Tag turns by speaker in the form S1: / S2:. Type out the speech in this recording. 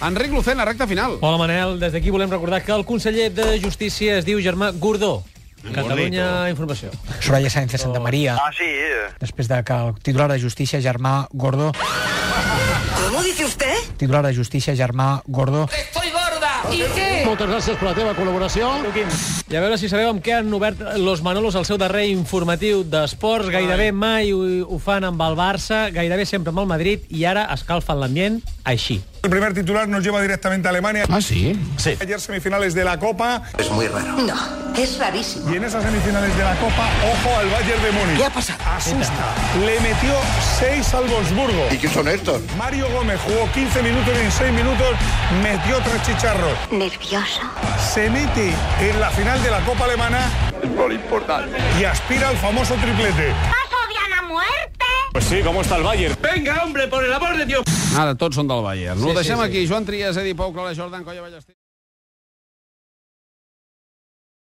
S1: Enric Lucena, recta final.
S2: Hola Manel, des d'aquí volem recordar que el conseller de Justícia es diu Germà Gordó. Catalunya Informació.
S3: Soraya Sáenz de Santa Maria,
S4: Ah, sí.
S3: després de que el titular de Justícia, Germà Gordó,
S5: ¿Cómo dice usted?
S3: titular de Justícia, Germà Gordó,
S2: I a veure si sabeu amb què han obert los Manolos el seu darrer informatiu d'esports. Gairebé mai ho, ho fan amb el Barça, gairebé sempre amb el Madrid, i ara escalfen l'ambient així.
S6: El primer titular nos lleva directamente a Alemania.
S1: Ah, sí?
S6: Ayer semifinales de la Copa.
S5: No, es rarísimo.
S6: Y en esas semifinales de la Copa, ojo al Bayern de Múnich.
S5: ¿Qué ha pasado?
S6: Asusta. Le metió 6 al Wolfsburgo.
S4: ¿Y quién son estos?
S6: Mario Gómez jugó 15 minutos y en 6 minutos metió tres chicharros.
S5: Nervioso.
S6: Se mete en la final de la Copa Alemana
S4: Por importante.
S6: y aspira al famoso triplete.
S5: odian a muerte?
S1: Ara tots són del Bayern. Sí, ho deixem sí, sí. aquí. Joan Trias, Edi Pou, Clara Jordan, Colla Ballester...